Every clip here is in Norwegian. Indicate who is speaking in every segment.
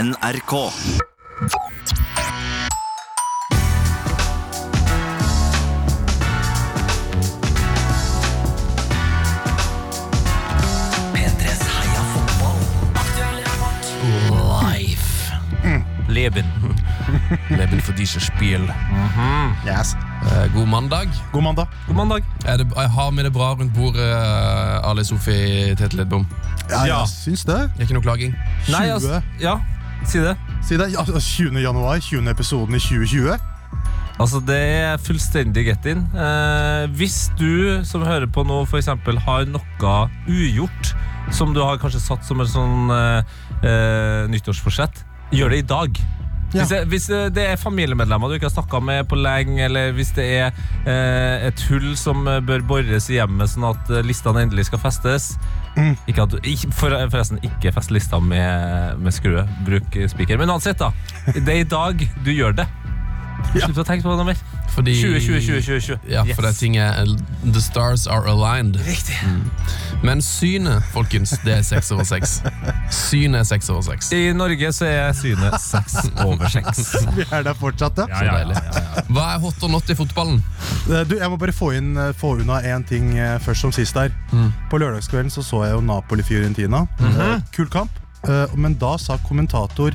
Speaker 1: NRK. P3s Heia fotball.
Speaker 2: Life. Leben. Leben for de som spiller.
Speaker 3: Yes.
Speaker 2: Eh, god mandag.
Speaker 3: God mandag.
Speaker 4: God mandag.
Speaker 2: Er det, jeg har med det bra rundt bordet, eh, Ali Sofi Tete Lidbom.
Speaker 3: Ja,
Speaker 4: Ja.
Speaker 3: jeg syns det.
Speaker 2: Det er ikke noe klaging.
Speaker 3: 20.
Speaker 4: Nei, altså, ja, si det.
Speaker 3: Si det. Ja, altså, 20. januar, 20. episoden i 2020.
Speaker 4: Altså, det er fullstendig get in. Eh, hvis du som hører på nå, for eksempel, har noe ugjort som du har kanskje satt som et sånn eh, eh, nyttårsforsett, gjør det i dag.
Speaker 3: Ja.
Speaker 4: Hvis, det, hvis eh, det er familiemedlemmer du ikke har snakka med på lenge, eller hvis det er eh, et hull som eh, bør bores i hjemmet sånn at eh, listene endelig skal festes
Speaker 3: Mm.
Speaker 4: ikke at du, ikke, for, Forresten, ikke fest lista med, med skrue. Bruk eh, spiker. Men uansett, da. Det er i dag du gjør det. Slutt å tenke på det mer.
Speaker 2: Fordi
Speaker 4: 20, 20, 20, 20, 20.
Speaker 2: Ja, for det er ting er The stars are aligned. Riktig. Men synet, folkens, det er seks over seks. Synet er seks over seks.
Speaker 4: I Norge så er synet seks over seks.
Speaker 3: Vi er der fortsatt, ja.
Speaker 2: ja, ja, Hva er hot og not i fotballen?
Speaker 3: Eh, Du, jeg må bare få, inn, eh, få unna én ting eh, først som sist her.
Speaker 2: Mm.
Speaker 3: På lørdagskvelden så, så jeg jo Napoli-Fiorentina.
Speaker 4: Mhm.
Speaker 3: Eh, Kul kamp. Eh, Men da sa kommentator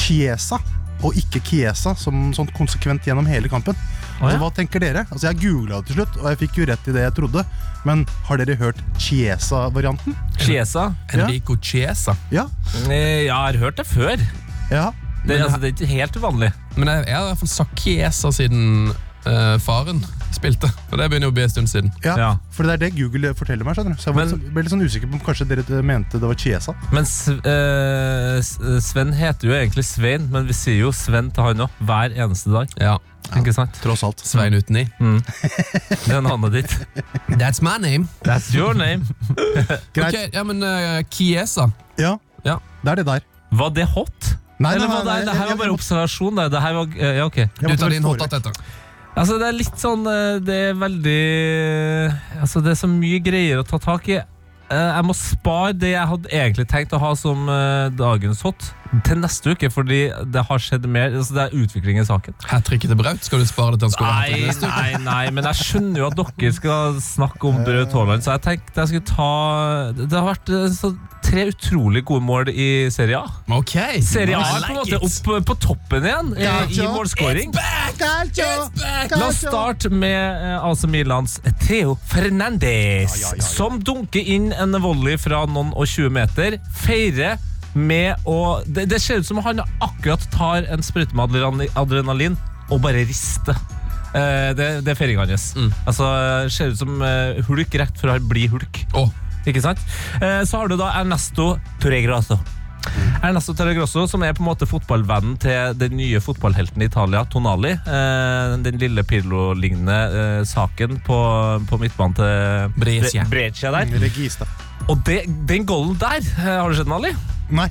Speaker 3: Chiesa og ikke Chiesa, som sånn konsekvent gjennom hele kampen.
Speaker 4: Å, ja.
Speaker 3: Altså, hva tenker dere? Altså, jeg googla det til slutt, og jeg fikk jo rett i det jeg trodde. Men har dere hørt Chiesa-varianten?
Speaker 4: Chiesa?
Speaker 2: Enrico Chiesa.
Speaker 3: Ja.
Speaker 4: Eh, Ja, jeg har hørt det før.
Speaker 3: ja.
Speaker 4: Det, altså, det er ikke helt uvanlig.
Speaker 2: Men jeg, jeg har i hvert fall sagt Chiesa siden eh, faren spilte. Og det begynner jo å bli en stund siden.
Speaker 3: Ja,
Speaker 4: Ja.
Speaker 3: for det er det Google forteller meg. skjønner du Så jeg var
Speaker 4: Men-
Speaker 3: litt sånn- ble litt sånn usikker på om kanskje dere mente det var Chiesa.
Speaker 4: Men Sv- eh, S- Sven heter jo egentlig Svein, men vi sier jo Sven til han òg hver eneste dag.
Speaker 2: Ja,
Speaker 4: Ikke sant?
Speaker 3: Tross alt.
Speaker 2: Svein uten i.
Speaker 4: Det er navnet ditt.
Speaker 2: That's my name.
Speaker 4: That's your name.
Speaker 3: Greit.
Speaker 2: Ok, ja, men eh, Chiesa.
Speaker 3: Ja.
Speaker 2: Ja.
Speaker 3: Det er det der.
Speaker 4: Var det hot?
Speaker 3: Nei,
Speaker 4: Eller var det, det her var
Speaker 3: jeg- jeg-
Speaker 4: bare observasjon. Det, det her var, eh, ja, ok.
Speaker 3: jeg
Speaker 2: Du
Speaker 3: måtte
Speaker 2: tar
Speaker 3: bare
Speaker 2: din hot
Speaker 3: forelese.
Speaker 2: hot etter.
Speaker 4: Altså, det er litt sånn eh, Det er veldig Altså, det er så mye greier å ta tak i. Eh, Jeg må spare det jeg hadde egentlig tenkt å ha som eh, dagens hot, til neste uke, fordi det har skjedd mer. Altså, det er utvikling i saken.
Speaker 2: Hat tricket til Braut. Skal du spare det til han skårer? hat-trick?
Speaker 4: Nei, nei, nei, men jeg skjønner jo at dere skal snakke om Braut Haaland, så jeg tenkte jeg skulle ta Det har vært eh, så tre utrolig gode mål i Serie A.
Speaker 2: Ok.
Speaker 4: Serie A
Speaker 2: I
Speaker 4: er på
Speaker 2: like
Speaker 4: en måte
Speaker 2: it.
Speaker 4: opp eh, på toppen igjen eh, i
Speaker 3: Gotcha.
Speaker 4: målskåring.
Speaker 3: Calcio!
Speaker 4: La oss starte med eh, AC Milans Theo Fernandes, som dunker inn en volley fra noen og 20 meter. Feirer med å Det, det ser ut som han akkurat tar en sprøyte med adrenalin- adrenalin og bare rister. Eh, det, det er feiringa hans.
Speaker 2: Mm.
Speaker 4: Altså, eh, ser ut som eh, hulk rett før han blir hulk.
Speaker 2: Å,
Speaker 4: Ikke sant? Eh, Så har du da Ernesto Torregrosso. Ernesto Torregrosso, som er på en måte fotballvennen til den nye fotballhelten i Italia, Tonali. Eh, Den lille Pirlo-lignende eh, saken på, på midtbanen til
Speaker 2: Brescia.
Speaker 4: Bre- Brescia der.
Speaker 3: Regista.
Speaker 4: Og det, den golden der, eh, har du sett den, Ali?
Speaker 3: Nei.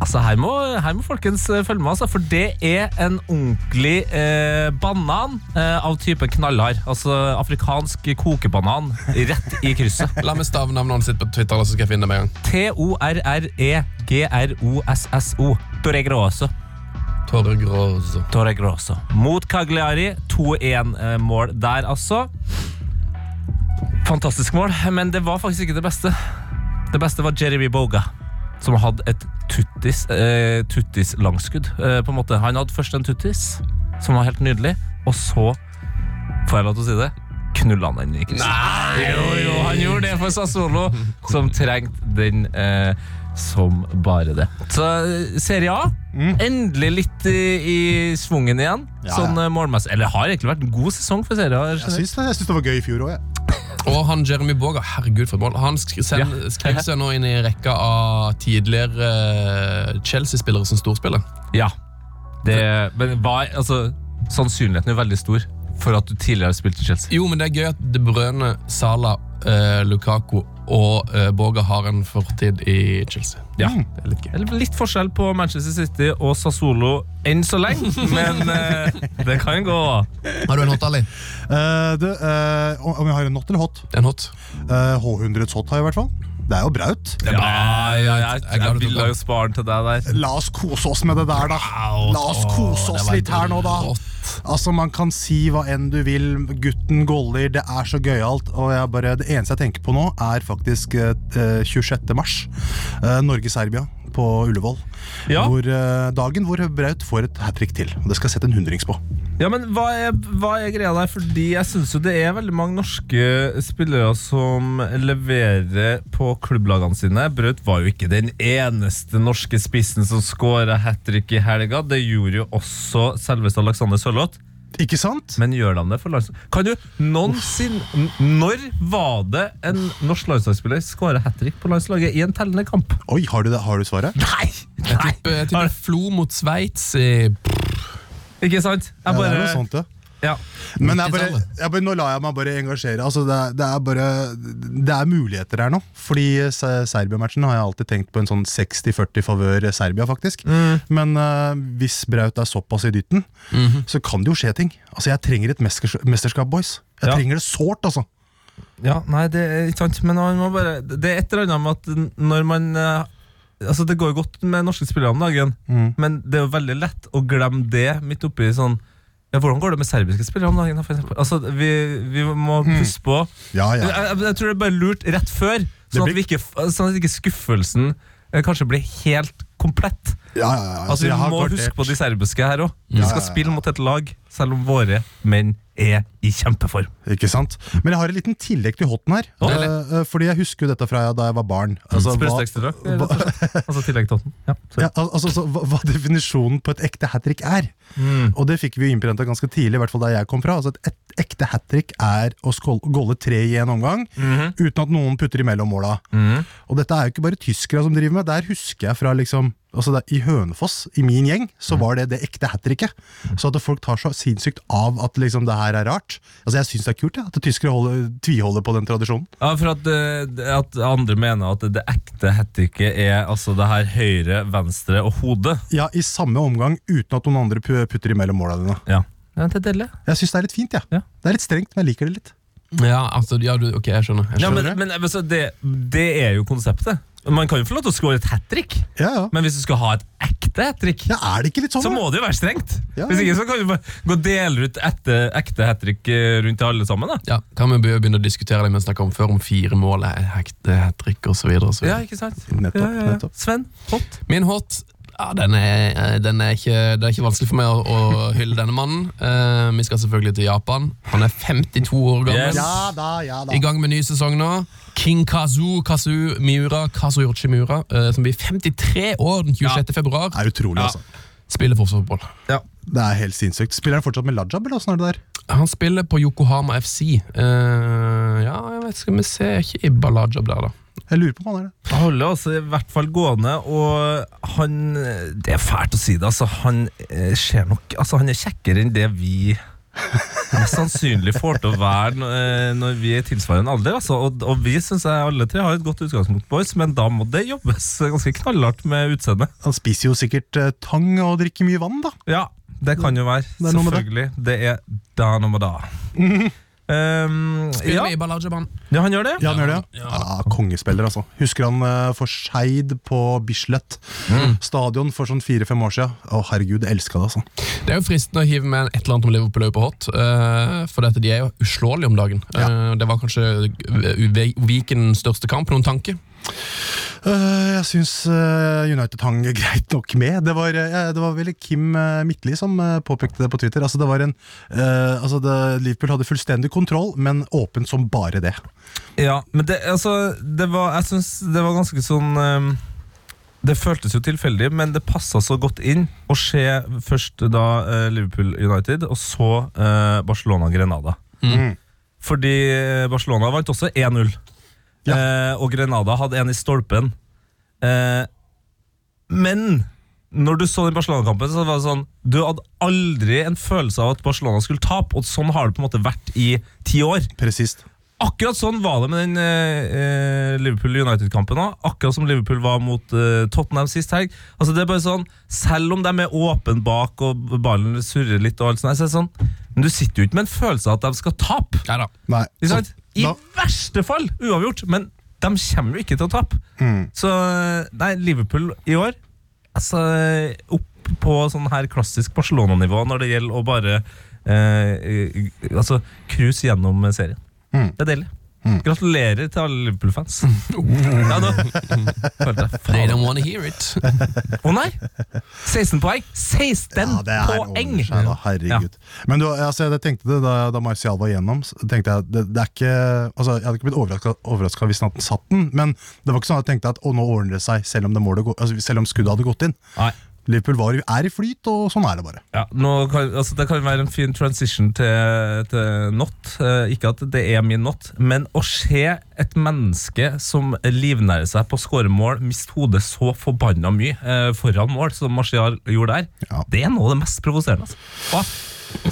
Speaker 4: Altså, her må, her må folkens eh, følge med, altså, for det er en ordentlig eh, banan eh, av typen knallhard. Altså afrikansk kokebanan rett i krysset.
Speaker 2: La meg stave navnet hans sitt på Twitter, så skal jeg finne det med en gang.
Speaker 4: E T-O-R-R-E-G-R-O-S-S-O. Torregroso.
Speaker 2: Torre Grosso.
Speaker 4: Torregroso. Mot Cagliari. 2-1-mål der, altså. Fantastisk mål, men det var faktisk ikke det beste. Det beste var Jeremy Boga, som hadde et tuttis, eh, tuttis-langskudd. Eh, på en måte. Han hadde først en tuttis, som var helt nydelig, og så, får jeg lov til å si det, knulla han den i krysset. Jo, jo, han gjorde det for Sassolo, som trengte den eh, som bare det. Så eh, Serie A, endelig litt i, i svungen igjen.
Speaker 3: Ja,
Speaker 4: sånn
Speaker 3: ja.
Speaker 4: eh, målmessig. Eller det har egentlig vært en god sesong for Serie A.
Speaker 3: Jeg
Speaker 4: generelt.
Speaker 3: syns det, jeg syns det var gøy i fjor òg, jeg.
Speaker 2: Og han Jeremy Boga, herregud for et mål. Han sk send,
Speaker 4: Ja.
Speaker 2: skrev seg nå inn i rekka av tidligere eh, Chelsea-spillere som storspiller.
Speaker 4: Ja. Det, men hva, altså, sannsynligheten er jo veldig stor for at du tidligere har spilt i Chelsea.
Speaker 2: Jo, men det er gøy at De Brøne, Sala, eh, Lukaku og eh, Boga har en fortid i Chelsea.
Speaker 4: Ja.
Speaker 3: Mm.
Speaker 2: Det er litt gøy.
Speaker 4: Eller Litt forskjell på Manchester City og Sassolo enn så lenge, men eh, det kan gå.
Speaker 2: Har du en hot, Ali?
Speaker 3: Eh, du, eh, om jeg har en not eller hot?
Speaker 2: En hot?
Speaker 3: Eh, H100s hot har jeg i hvert fall. Det er jo braut.
Speaker 2: Det er bra.
Speaker 4: ja,
Speaker 2: Jeg, jeg,
Speaker 4: jeg, jeg,
Speaker 2: gleder meg til
Speaker 4: ville
Speaker 2: det.
Speaker 4: jo spare den til deg der.
Speaker 3: La oss kose oss med det der, da. La oss kose
Speaker 2: Åh, det
Speaker 3: oss
Speaker 2: var
Speaker 3: litt her nå, da.
Speaker 2: rått.
Speaker 3: Altså, Man kan si hva enn du vil. Gutten goller, det er så gøyalt. Og jeg bare, det eneste jeg tenker på nå, er faktisk eh, eh, 26. mars. Eh, Norge-Serbia på Ullevål.
Speaker 4: Ja.
Speaker 3: Hvor, eh, dagen hvor Braut får et hat trick til. Og det skal jeg sette en hundrings på.
Speaker 4: Ja, men hva er, hva er greia der? Fordi jeg syns jo det er veldig mange norske spillere som leverer på klubblagene sine. Braut var jo ikke den eneste norske spissen som skåra hat trick i helga. Det gjorde jo også selveste Alexander Sørloth.
Speaker 3: Ikke sant?
Speaker 4: Men gjør de det for landslaget? Kan du noensinne n- Når var det en norsk landslagsspiller skåra hat trick på landslaget i en tellende kamp?
Speaker 3: Oi, har du, det? Har du svaret?
Speaker 4: Nei! Nei.
Speaker 2: Jeg tipper Flo mot Sveits i
Speaker 4: Ikke sant? Jeg
Speaker 3: Ja, det er
Speaker 4: bare
Speaker 3: noe sånt, ja.
Speaker 4: ja.
Speaker 3: Men jeg bare,
Speaker 2: 90-tallet.
Speaker 3: jeg bare, nå lar jeg meg bare engasjere. Altså det, er, det, er bare, det er muligheter her nå. Fordi eh, Se- Serbia-matchen har jeg alltid tenkt på en sånn 60-40 favør Serbia, faktisk.
Speaker 4: Mm.
Speaker 3: Men eh, hvis Braut er såpass i dytten,
Speaker 4: Mhm.
Speaker 3: så kan det jo skje ting. Altså Jeg trenger et mesters mesterskap, boys. Jeg
Speaker 4: Ja.
Speaker 3: trenger det sårt, altså.
Speaker 4: Ja, nei, det er ikke sant, men man må bare Det er et eller annet med at n- når man eh, Altså, det går jo godt med norske spillere om dagen,
Speaker 3: Mm.
Speaker 4: men det er jo veldig lett å glemme det midt oppi sånn ja, Hvordan går det med serbiske spillere om dagen? da, For eksempel? altså, vi, vi må pusse på.
Speaker 3: Ja, Mm. ja.
Speaker 4: Jeg, jeg, jeg tror det er bare lurt rett før, sånn at,
Speaker 3: blir-
Speaker 4: vi ikke, f- sånn at ikke skuffelsen eh, kanskje blir helt komplett.
Speaker 3: ja, ja, ja.
Speaker 4: Altså,
Speaker 3: jeg
Speaker 4: Vi
Speaker 3: har
Speaker 4: må
Speaker 3: gardert-
Speaker 4: huske på de serbiske her òg. Vi
Speaker 3: Ja, ja,
Speaker 4: skal
Speaker 3: ja.
Speaker 4: spille mot et lag, selv om våre menn er i kjempeform.
Speaker 3: Ikke sant? Men jeg har en liten tillegg til hotten her.
Speaker 4: Å.
Speaker 3: Eh, eh, fordi jeg husker jo dette fra da jeg var barn.
Speaker 4: Mm.
Speaker 3: Altså, hva,
Speaker 4: Sprøstekstrakt, rett og slett. Altså tillegg til åtten. Ja, sorry.
Speaker 3: ja, al- altså, så, hva, hva definisjonen på et ekte hat trick er.
Speaker 4: Mm.
Speaker 3: Og det fikk vi jo innprenta ganske tidlig, i hvert fall der jeg kom fra. Altså at Et ekte hat trick er å skål- golle tre i en omgang,
Speaker 4: Mhm.
Speaker 3: uten at noen putter imellom måla. Og dette er jo ikke bare tyskere som driver med. Der husker jeg fra liksom altså der, I Hønefoss, i min gjeng,
Speaker 4: Mhm.
Speaker 3: så var det det ekte hat tricket. Så at folk tar så sinnssykt av at liksom det her er rart. Altså Jeg syns det er kult ja, at tyskere holder, tviholder på den tradisjonen.
Speaker 4: ja, for at, eh, at andre mener at det ekte hattricket er altså det her høyre, venstre og hodet.
Speaker 3: Ja, I samme omgang uten at noen andre pu- putter imellom måla dine.
Speaker 4: Ja. Ja, det er deilig.
Speaker 3: Jeg syns det er litt fint, Ja.
Speaker 4: Ja.
Speaker 3: Det er litt strengt, men jeg liker det litt.
Speaker 2: Ja, altså, ja du, ok, jeg skjønner. Jeg
Speaker 4: Ja,
Speaker 2: skjønner.
Speaker 4: men, men altså, det, det er jo konseptet. Man kan jo få lov til å score et hat trick,
Speaker 3: Ja, ja.
Speaker 4: men hvis du skal ha et ekte hat trick
Speaker 3: Ja, er det ikke litt sånn?
Speaker 4: så
Speaker 3: da?
Speaker 4: må det jo være strengt.
Speaker 3: Ja.
Speaker 4: Hvis ikke så kan du bare gå og dele ut ekte, ekte hat trick rundt til alle sammen. da
Speaker 2: Ja, kan vi be- begynne å diskutere det vi snakket om før, om fire mål, hat trick osv.
Speaker 4: Ja,
Speaker 2: videre
Speaker 4: ikke sant?
Speaker 3: Nettopp,
Speaker 4: ja, ja, ja.
Speaker 3: nettopp.
Speaker 4: Sven, hot.
Speaker 2: Min hot ja, den er, eh, den er ikke, Det er ikke vanskelig for meg å, å hylle denne mannen. Eh, vi skal selvfølgelig til Japan. Han er 52 år gammel.
Speaker 4: Yes.
Speaker 3: Ja da, ja da.
Speaker 2: I gang med ny sesong nå. King Kazu Kazu Miura Kazuyoshi Miura, eh, som blir 53 år den 26. februar,
Speaker 3: Det er utrolig,
Speaker 4: Ja.
Speaker 3: altså.
Speaker 2: spiller forsvarsfotball.
Speaker 3: Det er helt sinnssykt. Spiller han fortsatt med Lajab, eller åssen er det der?
Speaker 2: Han spiller på Yokohama FC. Eh, ja, jeg vet, skal vi se Er ikke Ibba Lajab der, da?
Speaker 3: Jeg lurer på om han er det.
Speaker 4: Han holder altså i hvert fall gående, og han Det er fælt å si det, altså. Han eh, ser nok Altså, han er kjekkere enn det vi mest sannsynlig får til å være n- eh, når vi er i tilsvarende alder. Altså. Og, og vi syns jeg alle tre har et godt utgangspunkt, boys, men da må det jobbes ganske knallhardt med utseendet.
Speaker 3: Han spiser jo sikkert eh, tang og drikker mye vann, da.
Speaker 4: Ja, det kan jo være.
Speaker 3: er noe med det.
Speaker 4: Selvfølgelig. Det er da noe med da. Um,
Speaker 2: Spiller
Speaker 4: ja.
Speaker 2: med Ibba Lajab, han.
Speaker 4: ja, han gjør det.
Speaker 3: Ja, han gjør det, ja. ja kongespiller, altså. Husker han eh, for Skeid på Bislett stadion for sånn fire-fem år siden. Å, herregud, jeg elska det, altså.
Speaker 2: Det er jo fristende å hive med et eller annet om Liverpool på hot, eh, for dette, de er jo uslåelige om dagen. Eh, det var kanskje eh, Vikens største kamp. Noen tanke?
Speaker 3: Eh, jeg syns eh, United hang greit nok med. Det var, eh, det var vel Kim eh, Midtli som eh, påpekte det på Twitter. Altså, det var en, eh, altså det, Liverpool hadde fullstendig kontroll, men åpent som bare det.
Speaker 4: Ja, men det, altså, det var, jeg synes det var ganske sånn ehm, Det føltes jo tilfeldig, men det passa så godt inn å se først da eh, Liverpool United, og så eh, Barcelona Grenada.
Speaker 2: Mm.
Speaker 4: Fordi eh, Barcelona vant også 1-0, eh, og Grenada hadde en i stolpen. Eh, men når du så den Barcelona-kampen, så var det sånn Du hadde aldri en følelse av at Barcelona skulle tape, og sånn har det på en måte vært i ti år.
Speaker 3: Presist.
Speaker 4: Akkurat sånn var det med den eh, eh, Liverpool-United-kampen òg. Akkurat som Liverpool var mot eh, Tottenham sist helg. Altså det er bare sånn, Selv om de er åpen bak og ballen surrer litt, og alt sånt, så er det sånn, men du sitter jo ikke med en følelse av at de skal tape.
Speaker 2: Nei da.
Speaker 3: Nei.
Speaker 4: Ikke sant? I
Speaker 3: Da-
Speaker 4: verste fall uavgjort, men De kommer jo ikke til å tape.
Speaker 3: Mm.
Speaker 4: Så eh, nei, Liverpool i år altså, Opp på sånn her klassisk Barcelona-nivå når det gjelder å bare eh, Altså cruise gjennom serien.
Speaker 3: Mm.
Speaker 4: Det er deilig. Gratulerer til alle Liverpool-fans. Ja, nå følte jeg
Speaker 2: They
Speaker 4: faen.
Speaker 2: don't wanna hear it.
Speaker 4: Å nei! 16 poeng! 16
Speaker 3: Ja, det er
Speaker 4: poeng!
Speaker 3: over seg, da. Herregud. Men du, altså, jeg tenkte det da, da Marcial var igjennom, så tenkte jeg det, det er ikke Altså, Jeg hadde ikke blitt overraska hvis han hadde satt den, men det var ikke sånn at jeg tenkte at å, nå ordner det seg, selv om, det målet, går- altså, selv om skuddet hadde gått inn.
Speaker 4: Nei.
Speaker 3: Liverpool var, er i flyt, og sånn er det bare.
Speaker 4: Ja, nå kan, altså det kan være en fin transition til, til not. Eh, ikke at det er min not, men å se et menneske som livnærer seg på skåremål, miste hodet så forbanna mye eh, foran mål, som Marcial gjorde der,
Speaker 3: Ja.
Speaker 4: det er noe av det mest provoserende. Altså. Hva?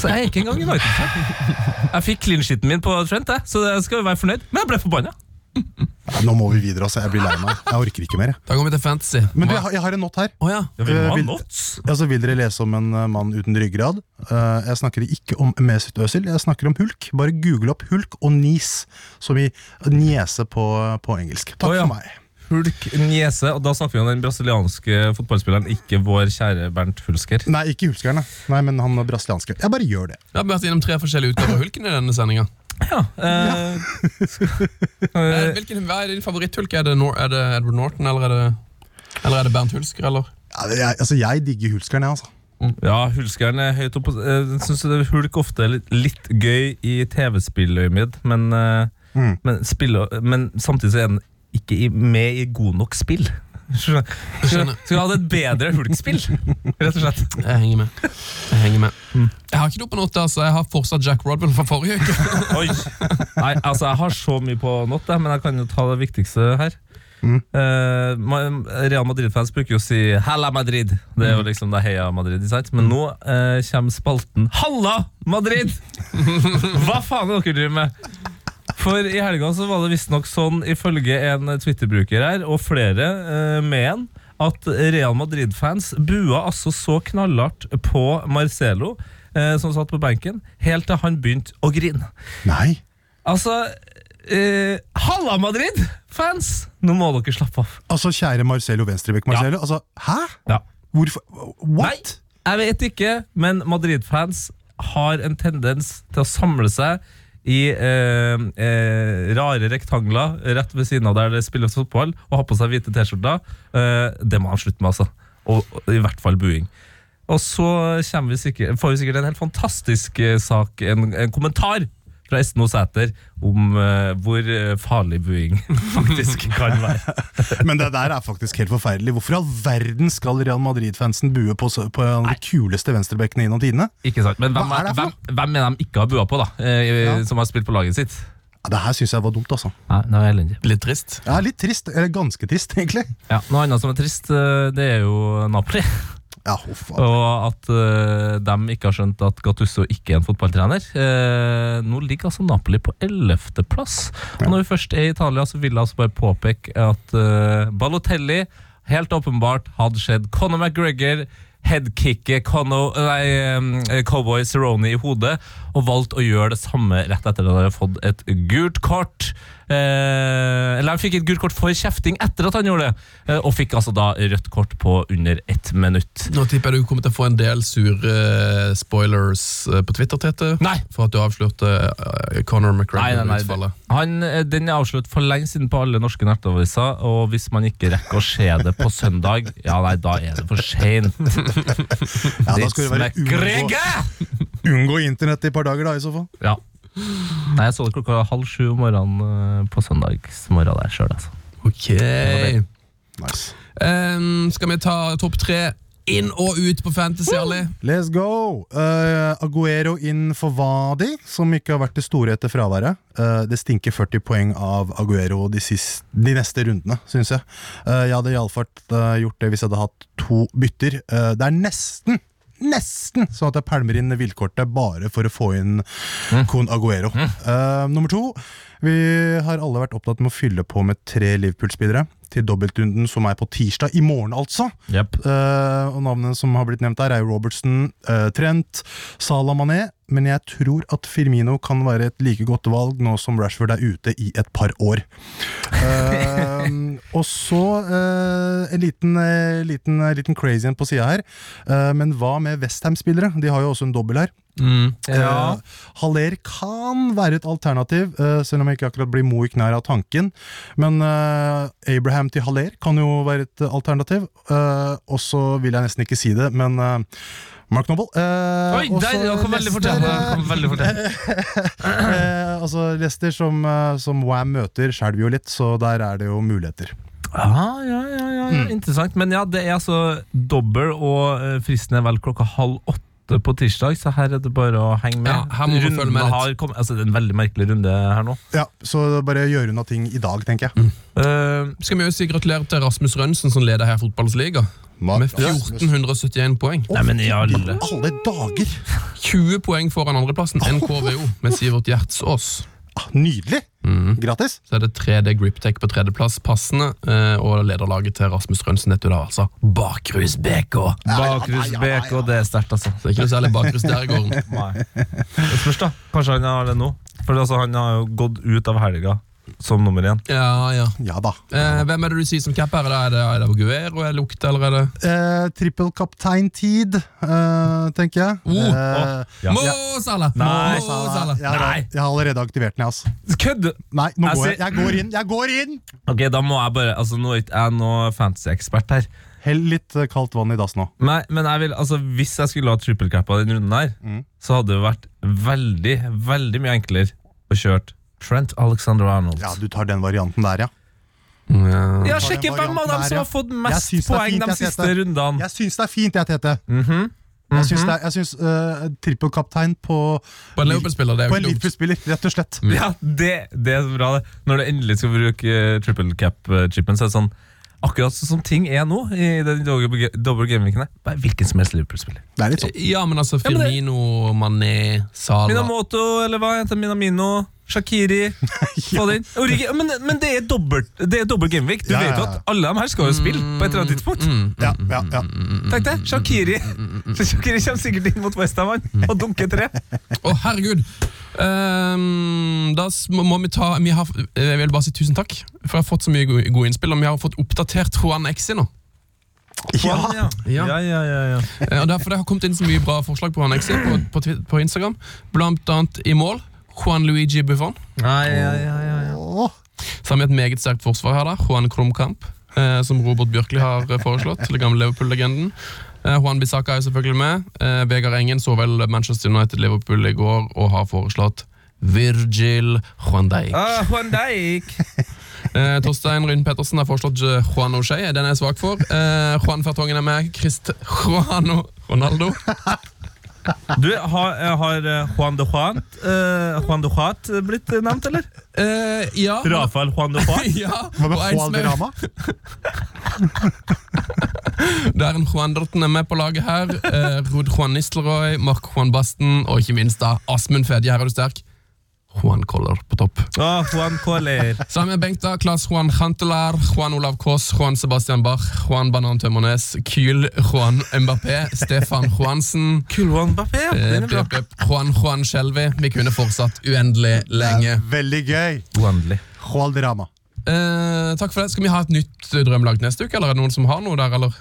Speaker 4: Så jeg er ikke engang United-fan. Jeg fikk clean-shiten min på Trent, jeg, så jeg skal jo være fornøyd, men jeg ble forbanna.
Speaker 3: Nei, Nå må vi videre, altså. Jeg blir lei meg. Jeg orker ikke mer. jeg.
Speaker 2: Da går vi til fantasy.
Speaker 3: Men du, jeg har, jeg har en not her.
Speaker 2: Å ja.
Speaker 4: Ja, vi
Speaker 3: Eh,
Speaker 4: må ha
Speaker 3: vil-
Speaker 4: nots.
Speaker 3: Altså, Vil dere lese om en eh, mann uten ryggrad? Eh, jeg snakker ikke om Mesut Özil, jeg snakker om Hulk. Bare google opp Hulk og Nis, som i niese på, på engelsk. Takk
Speaker 4: Å, ja.
Speaker 3: for meg.
Speaker 4: Hulk Niese, og da snakker vi om den brasilianske fotballspilleren, ikke vår kjære Bernt Hulsker.
Speaker 3: Nei, ikke hulskeren, da. Nei, men han brasilianske. Jeg bare gjør det.
Speaker 2: Da har vi vært gjennom tre forskjellige utgaver av Hulken i denne sendinga.
Speaker 4: Ja, eh, eh,
Speaker 2: Hvilken hva er din favoritthulk? Er det, Nor er det Edward Norton, eller er det, eller er det Bernt Hulsker, eller?
Speaker 3: Ja, Jeg, altså, jeg digger hulskeren, jeg, altså.
Speaker 4: ja Hulskeren er høyt oppe. Eh, Jeg syns Hulk ofte er litt, litt gøy i TV-spilløyemed, men, eh,
Speaker 3: Mm.
Speaker 4: men, spiller- men samtidig så er han ikke i, med i god nok spill. Skjønner. Skjønner. Skulle hatt et bedre Hulk-spill, rett og slett.
Speaker 2: Jeg henger med. Jeg henger med. Mm. Jeg har ikke noe på noe, altså. Jeg har fortsatt Jack Rodwell fra forrige uke.
Speaker 4: Oi. Nei, altså Jeg har så mye på not, jeg, men jeg kan jo ta det viktigste her. Eh, ma- Real Madrid-fans bruker jo å si 'Halla Madrid'. Det er jo liksom det heia Madrid. ikke sant? Men nå eh, kommer spalten 'Halla Madrid'! Hva faen er dere driver med? For i helga så var det visstnok sånn, ifølge en Twitter-bruker her, og flere eh, med en, at Real Madrid-fans bua altså så knallhardt på Marcelo, eh, som satt på benken, helt til han begynte å grine.
Speaker 3: Nei.
Speaker 4: Altså eh, Halla, Madrid-fans! Nå må dere slappe av.
Speaker 3: Altså, kjære Marcelo Venstrebekk Marcelo. Altså, hæ?
Speaker 4: Ja.
Speaker 3: Hvorfor What?
Speaker 4: Jeg vet ikke, men Madrid-fans har en tendens til å samle seg i eh, eh, rare rektangler rett ved siden av der det spilles fotball, og ha på seg hvite T-skjorter. Eh, det må han slutte med, altså. Og, og i hvert fall buing. Og så kommer vi sikkert, får vi sikkert en helt fantastisk eh, sak, en, en kommentar fra Esten Osæter om eh, hvor eh, farlig buing faktisk kan være.
Speaker 3: Men det der er faktisk helt forferdelig. Hvorfor i all verden skal Real Madrid-fansen bue på, så- på en av de kuleste venstrebekkene gjennom tidene?
Speaker 4: Ikke sant, Men hvem
Speaker 3: Hva er
Speaker 4: er,
Speaker 3: det for
Speaker 4: hvem, hvem er de ikke har bua på, da? eh,
Speaker 3: Ja.
Speaker 4: Som har spilt på laget sitt?
Speaker 3: Ja, det her syns jeg var dumt, altså.
Speaker 4: Nei, det var elendig.
Speaker 2: Litt trist.
Speaker 3: Ja, litt trist. Eller ganske trist, egentlig.
Speaker 4: Ja, noe annet som er trist, eh, det er jo Napoli.
Speaker 3: Ja, huff.
Speaker 4: Og at eh, de ikke har skjønt at Gattusso ikke er en fotballtrener. Eh, Nå ligger altså Napoli på 11. plass. Og når vi først er i Italia, så vil jeg altså bare påpeke at eh, Balotelli helt åpenbart hadde skjedd Conor McGregor. Headkicket Conor- nei, eh, Cowboy Cerrone i hodet, og valgte å gjøre det samme rett etter at han hadde fått et gult kort. Eh, eller han fikk et gult kort for kjefting etter at han gjorde det, eh, og fikk altså da rødt kort på under ett minutt.
Speaker 2: Nå tipper jeg du kommer til å få en del sure eh, spoilers eh, på Twitter, Tete.
Speaker 4: Nei!
Speaker 2: For at du avslørte eh, Conor
Speaker 4: Nei, nei, nei.
Speaker 2: McGregor-utfallet.
Speaker 4: Han, eh, den er avslørt for lenge siden på alle norske nettaviser, og hvis man ikke rekker å se det på søndag, ja nei, da er det for seint.
Speaker 3: Ja, da skal det være unngå, unngå internett i et par dager, da, i så fall.
Speaker 4: Ja. Nei, jeg så det klokka halv sju om morgenen eh, på søndagsmorgen der sjøl, altså.
Speaker 2: Ok.
Speaker 3: Nice.
Speaker 2: Em, skal vi ta topp tre inn og ut på Fantasy, Ali?
Speaker 3: Let's go! Eh, Aguero inn for Wadi, som ikke har vært det store etter fraværet. Eh, det stinker 40 poeng av Aguero de, sist- de neste rundene, syns jeg. Eh, jeg hadde iallfall uh, gjort det hvis jeg hadde hatt to bytter. Eh, det er nesten Nesten sånn at jeg pælmer inn villkortet bare for å få inn Kun Aguero. Eh, nummer to. Vi har alle vært opptatt med å fylle på med tre Liverpool-spillere til dobbeltrunden som er på tirsdag i morgen, altså.
Speaker 4: Yep.
Speaker 3: Eh, og Navnene som har blitt nevnt der, er jo Robertson, eh, Trent, Salah Mané. Men jeg tror at Firmino kan være et like godt valg nå som Rashford er ute i et par år. Eh, og så eh, en liten, eh, liten, liten crazy en på sida her. Eh, men hva med Westham-spillere? De har jo også en dobbel her.
Speaker 2: Mm.
Speaker 4: Ja.
Speaker 3: Eh, Haller kan være et alternativ, eh, selv om jeg ikke akkurat blir mo i knær av tanken. Men eh, Abraham til Haller kan jo være et eh, alternativ. Eh, og så vil jeg nesten ikke si det, men eh, Mark Noble. eh,
Speaker 4: Oi,
Speaker 3: og
Speaker 4: der
Speaker 3: så
Speaker 4: han kom veldig fort
Speaker 3: Leicester,
Speaker 4: igjen. Han kom veldig fort igjen.
Speaker 3: eh, altså Leicester som, eh, som Wam møter, skjelver jo litt, så der er det jo muligheter.
Speaker 4: Ah, ja, ja, ja, ja.
Speaker 2: Mm.
Speaker 4: Interessant. Men ja, det er altså dobbel, og eh, fristen er vel klokka halv åtte på tirsdag, så her er det bare å henge med.
Speaker 2: Ja, her må man
Speaker 4: Runden
Speaker 2: følge med litt.
Speaker 4: har kommet, altså, det er en veldig merkelig runde her nå.
Speaker 3: Ja, Så bare gjøre unna ting i dag, tenker jeg.
Speaker 4: Eh,
Speaker 2: Skal vi også si gratulerer til Rasmus Rønsen, som leder her Fotballens liga,
Speaker 3: Mark
Speaker 2: med
Speaker 3: Rasmus.
Speaker 2: 1471 poeng.
Speaker 4: nei, men i alle
Speaker 3: Alle dager!
Speaker 2: 20 poeng foran andreplassen, NKVO, med Sivert Gjertsås. Mm.
Speaker 3: Ah, nydelig! Gratis!
Speaker 2: Så er det 3D GripTech på tredjeplass, passende, eh, og lederlaget til Rasmus Rønsen nettopp der, altså. Bakrus BK.
Speaker 4: Bakrus BK, det er sterkt, altså.
Speaker 2: Så det er ikke noe særlig bakrus der i gården.
Speaker 4: Nei. Det spørs, da. Kanskje han har det nå. For altså, han har jo gått ut av helga som nummer én.
Speaker 2: Ja, ja.
Speaker 3: Ja da.
Speaker 2: Eh, hvem er det du sier som cap her? Er det, er det Guero, er det Lukte, eller er det
Speaker 3: Eh, Trippelkapteintid, eh, tenker jeg.
Speaker 2: Oh,
Speaker 3: Eh,
Speaker 4: Ja.
Speaker 2: Mo Salah!
Speaker 4: Nei,
Speaker 2: Mo
Speaker 3: Salah.
Speaker 2: Salah.
Speaker 3: Jeg, har, jeg har allerede aktivert den, jeg, altså.
Speaker 4: Kødd!
Speaker 3: Nei, nå
Speaker 4: Jeg
Speaker 3: går
Speaker 4: ser-
Speaker 3: jeg. Jeg går inn! Jeg går inn!
Speaker 4: Ok, da må jeg bare Altså, nå er ikke jeg noe fantasy-ekspert her.
Speaker 3: Hell litt eh, kaldt vann i dass nå.
Speaker 4: Nei, men jeg vil, altså, hvis jeg skulle ha trippelcappa den runden her,
Speaker 3: Mm.
Speaker 4: så hadde det vært veldig, veldig mye enklere å kjøre Trent Alexander Arnold.
Speaker 3: Ja, Du tar den varianten der, ja.
Speaker 2: Ja.
Speaker 4: Ja,
Speaker 3: tar
Speaker 4: sjekk
Speaker 3: den
Speaker 4: hvem av
Speaker 3: varianten der,
Speaker 4: dem som
Speaker 3: ja.
Speaker 4: har fått
Speaker 3: Jeg
Speaker 4: mest
Speaker 3: synes det er
Speaker 4: poeng
Speaker 3: fint,
Speaker 4: de
Speaker 3: jeg
Speaker 4: siste
Speaker 3: heter.
Speaker 4: rundene.
Speaker 3: Jeg syns det er fint, jeg, Tete.
Speaker 4: Mhm.
Speaker 3: Jeg syns, det er- jeg syns eh, trippelkaptein på,
Speaker 2: På en Liverpool-spiller, det er jo
Speaker 3: på en
Speaker 2: ikke dumt.
Speaker 3: Liverpool-spiller, rett og slett.
Speaker 4: Ja, det, det er så bra det. Når du endelig skal bruke eh, triple cap-chipen, så er det sånn Akkurat sånn som ting er nå, i den doble doble gameweeken her, bare hvilken som helst Liverpool-spiller.
Speaker 3: Det er litt sånn.
Speaker 2: Ja, men altså,
Speaker 4: men det-
Speaker 2: Firmino, Mané, Salah
Speaker 4: Minamoto, eller hva heter det? Minamino? Shakiri? Få det inn. Origi, men, men det er dobbelt, det er dobbelt gameweek. Du
Speaker 3: Ja,
Speaker 4: vet
Speaker 3: ja,
Speaker 4: jo
Speaker 3: ja.
Speaker 4: at alle dem her skal jo spille på et eller annet tidspunkt.
Speaker 2: Mm.
Speaker 3: Ja, ja, ja.
Speaker 4: Mm, Tenk det, Shakiri Så Shakiri kommer sikkert inn mot Westham og dunker tre.
Speaker 2: Å, herregud! Ehm, da s- må må vi ta vi har, eh, Jeg vil bare si tusen takk, for jeg har fått så mye gode, gode innspill. Og vi har fått oppdatert Juan Exi nå.
Speaker 3: ja.
Speaker 4: ja.
Speaker 2: Ja.
Speaker 4: ja, ja, ja, ja.
Speaker 2: Eh, Og derfor Det har kommet inn så mye bra forslag på Juan Exi på, på, Twi- på Instagram. Blant annet i mål. Juan Luigi Buffon.
Speaker 4: Nei, ja, ja, ja, ja.
Speaker 3: Åh,
Speaker 2: Så har vi et meget sterkt forsvar her, da. Juan Krumkamp, eh, som Robert Bjørkli har eh, foreslått. Den gamle Liverpool-legenden. Eh, Juan Bissaka er jo selvfølgelig med. Eh, Vegard Engen så vel Manchester United-Liverpool i går og har foreslått Virgil Juan Dijk.
Speaker 4: Ah, Juan Dijk.
Speaker 2: Eh, Torstein Ryn Pettersen har foreslått eh, Juan O'Shea. Den er jeg svak for. Eh, Juan Fertongen er med. Christ Juano Ronaldo.
Speaker 4: Du, har, har eh, Juan de Juan eh, Juan de Juat blitt eh, nevnt, eller?
Speaker 2: Eh, ja.
Speaker 4: Rafael Juan de Juan?
Speaker 2: ja.
Speaker 3: Hva med
Speaker 2: og en som
Speaker 3: Juan
Speaker 2: er-
Speaker 3: de Rama?
Speaker 2: Darren Juanderton er med på laget her. Eh, Rud Juan Nistelrooy, Mark Juan Basten og ikke minst da Asmund Fedje. Her er du sterk. Juan Koller på topp.
Speaker 4: Ah, Juan Coller.
Speaker 2: Sammen med Bengt da, Claes Juan Chantelar, Juan Olav Kaas, Juan Sebastian Bach, Juan Banan Tømmernes, Kyl Juan Mbappé, Stefan Juansen,
Speaker 4: Kul Juan Bappé.
Speaker 2: eh,
Speaker 4: Den er bra.
Speaker 2: blip, blip, Juan Juan Skjelvi. Vi kunne fortsatt uendelig lenge.
Speaker 3: Veldig gøy.
Speaker 4: Uendelig.
Speaker 3: Juan de Rama.
Speaker 2: Eh, takk for det. Skal vi ha et nytt eh, drømmelag neste uke, eller er det noen som har noe der, eller?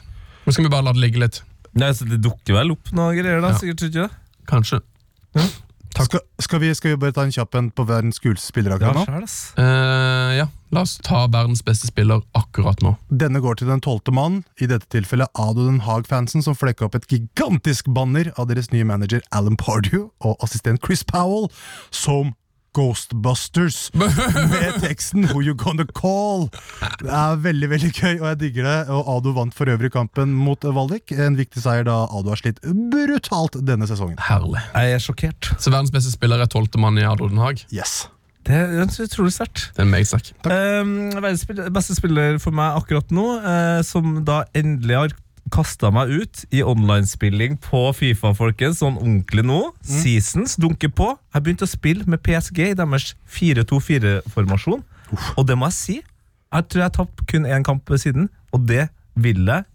Speaker 2: Nå skal vi bare la det ligge litt.
Speaker 4: Nei, så Det dukker vel opp noe greier, da.
Speaker 2: Ja.
Speaker 4: Sikkert tror du ikke det?
Speaker 2: Kanskje.
Speaker 3: Skal, skal, vi, skal vi bare ta en kjapp en på verdens kuleste spiller
Speaker 4: Ja,
Speaker 3: akkurat nå?
Speaker 4: sjæl, ass.
Speaker 2: Eh, ja, la oss ta verdens beste spiller akkurat nå.
Speaker 3: Denne går til den tolvte mann, i dette tilfellet Ado Den Haag-fansen, som flekka opp et gigantisk banner av deres nye manager Alan Pardew og assistent Chris Powell som Ghostbusters, med teksten 'Who you gonna call'. Det er veldig veldig gøy, og jeg digger det. Og Ado vant for øvrig kampen mot Valdik. En viktig seier da Ado har slitt brutalt denne sesongen.
Speaker 2: Herlig.
Speaker 4: Jeg er sjokkert.
Speaker 2: Så verdens beste spiller er tolvtemann i Adolden Haag.
Speaker 3: Yes.
Speaker 4: Det er utrolig sterkt.
Speaker 2: Det er meg snakk.
Speaker 4: Ehm, Um, verdens spill- beste spiller for meg akkurat nå, eh, som da endelig har Kasta meg ut i online-spilling på Fifa, folkens. Sånn ordentlig nå. Seasons dunker på. Jeg begynte å spille med PSG i deres 4-2-4-formasjon. Og det må jeg si. Jeg tror jeg har tapt kun én kamp siden, og det vil jeg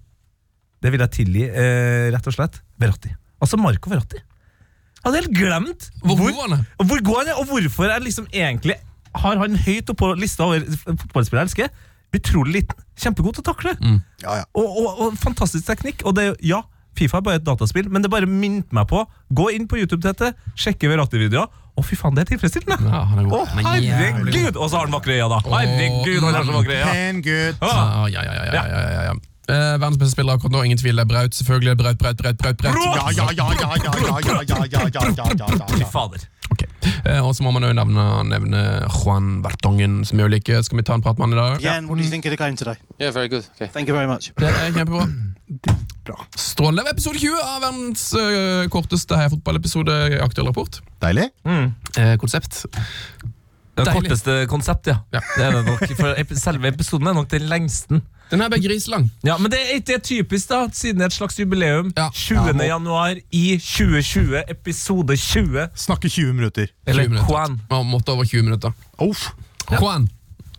Speaker 4: Det vil jeg tilgi, eh, rett og slett, Verratti. Altså Marco Verratti. Jeg hadde helt glemt
Speaker 2: Hvor god han er.
Speaker 4: og Hvor går han er, og hvorfor er liksom egentlig Har han høyt oppe på lista over f- fotballspillere jeg elsker? Utrolig liten, kjempegod til å takle
Speaker 3: Ja, ja.
Speaker 4: og, og, og fantastisk teknikk Og det, ja, FIFA er bare et dataspill Men det bare minnet meg på Gå inn på YouTube til dette, sjekke Verratti-videoer Å fy faen, det er tilfredsstillende
Speaker 2: Ja, han er god.
Speaker 4: Å
Speaker 2: Han er jævlig god.
Speaker 4: herregud, og så har han vakre øya da Herregud, han har så vakre øya
Speaker 3: Pen gutt.
Speaker 4: Ah,
Speaker 2: Ja, ja, ja, ja, ja, ja, ja, ja. Eh, verdens beste spiller akkurat nå, ingen tvil. det er Braut, selvfølgelig. Braut, Braut, Braut, Braut. Braut.
Speaker 3: Ja, ja, ja, ja, ja, ja, ja, ja, ja, ja, ja, ja,
Speaker 4: Fy
Speaker 3: ja.
Speaker 4: fader
Speaker 2: Ok. Eh, og så må man jo nevne, nevne Juan Vertongen, som jeg jo liker. Skal vi ta en prat med han i dag?
Speaker 5: Jan, what do you think of the game today?
Speaker 6: Mm. Yeah, very good. Okay.
Speaker 5: Thank you very much.
Speaker 2: Det er kjempebra. Strålende. Episode 20 av verdens eh, korteste heiafotballepisode i Aktuell rapport.
Speaker 3: Deilig.
Speaker 2: Eh, konsept.
Speaker 4: Det
Speaker 2: Deilig.
Speaker 4: korteste konsept, ja,
Speaker 2: Ja.
Speaker 4: Det er det nok For epi- selve episoden er nok den lengsten
Speaker 2: Den her ble griselang.
Speaker 4: Ja, men det er ikke det er typisk da Siden det er et slags jubileum
Speaker 2: Ja.
Speaker 4: 20. januar i 2020 Episode 20
Speaker 3: Snakke 20 minutter.
Speaker 2: 20
Speaker 4: Eller
Speaker 2: minutter.
Speaker 4: Juan
Speaker 2: Ja, måtte over 20 minutter.
Speaker 3: Uff.
Speaker 2: Juan.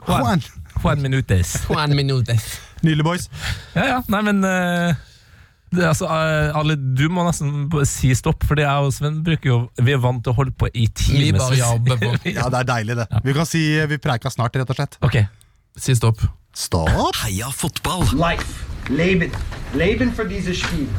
Speaker 3: Juan.
Speaker 4: Juan Minutes
Speaker 2: Juan Minutes.
Speaker 3: Nydelig, boys.
Speaker 4: Ja, ja, nei, men eh, det, er altså, eh, Ali, du må nesten b- si stopp, for jeg og Sven bruker jo Vi er vant til å holde på i
Speaker 2: Vi bare
Speaker 4: timevis.
Speaker 2: jobber på.
Speaker 3: Ja, det er deilig, det. Vi kan si eh, vi preika snart, rett og slett.
Speaker 4: Ok,
Speaker 2: Si stopp.
Speaker 3: Stopp.
Speaker 1: Heia fotball!
Speaker 7: Life. Leben. Leben für dieses Spiel.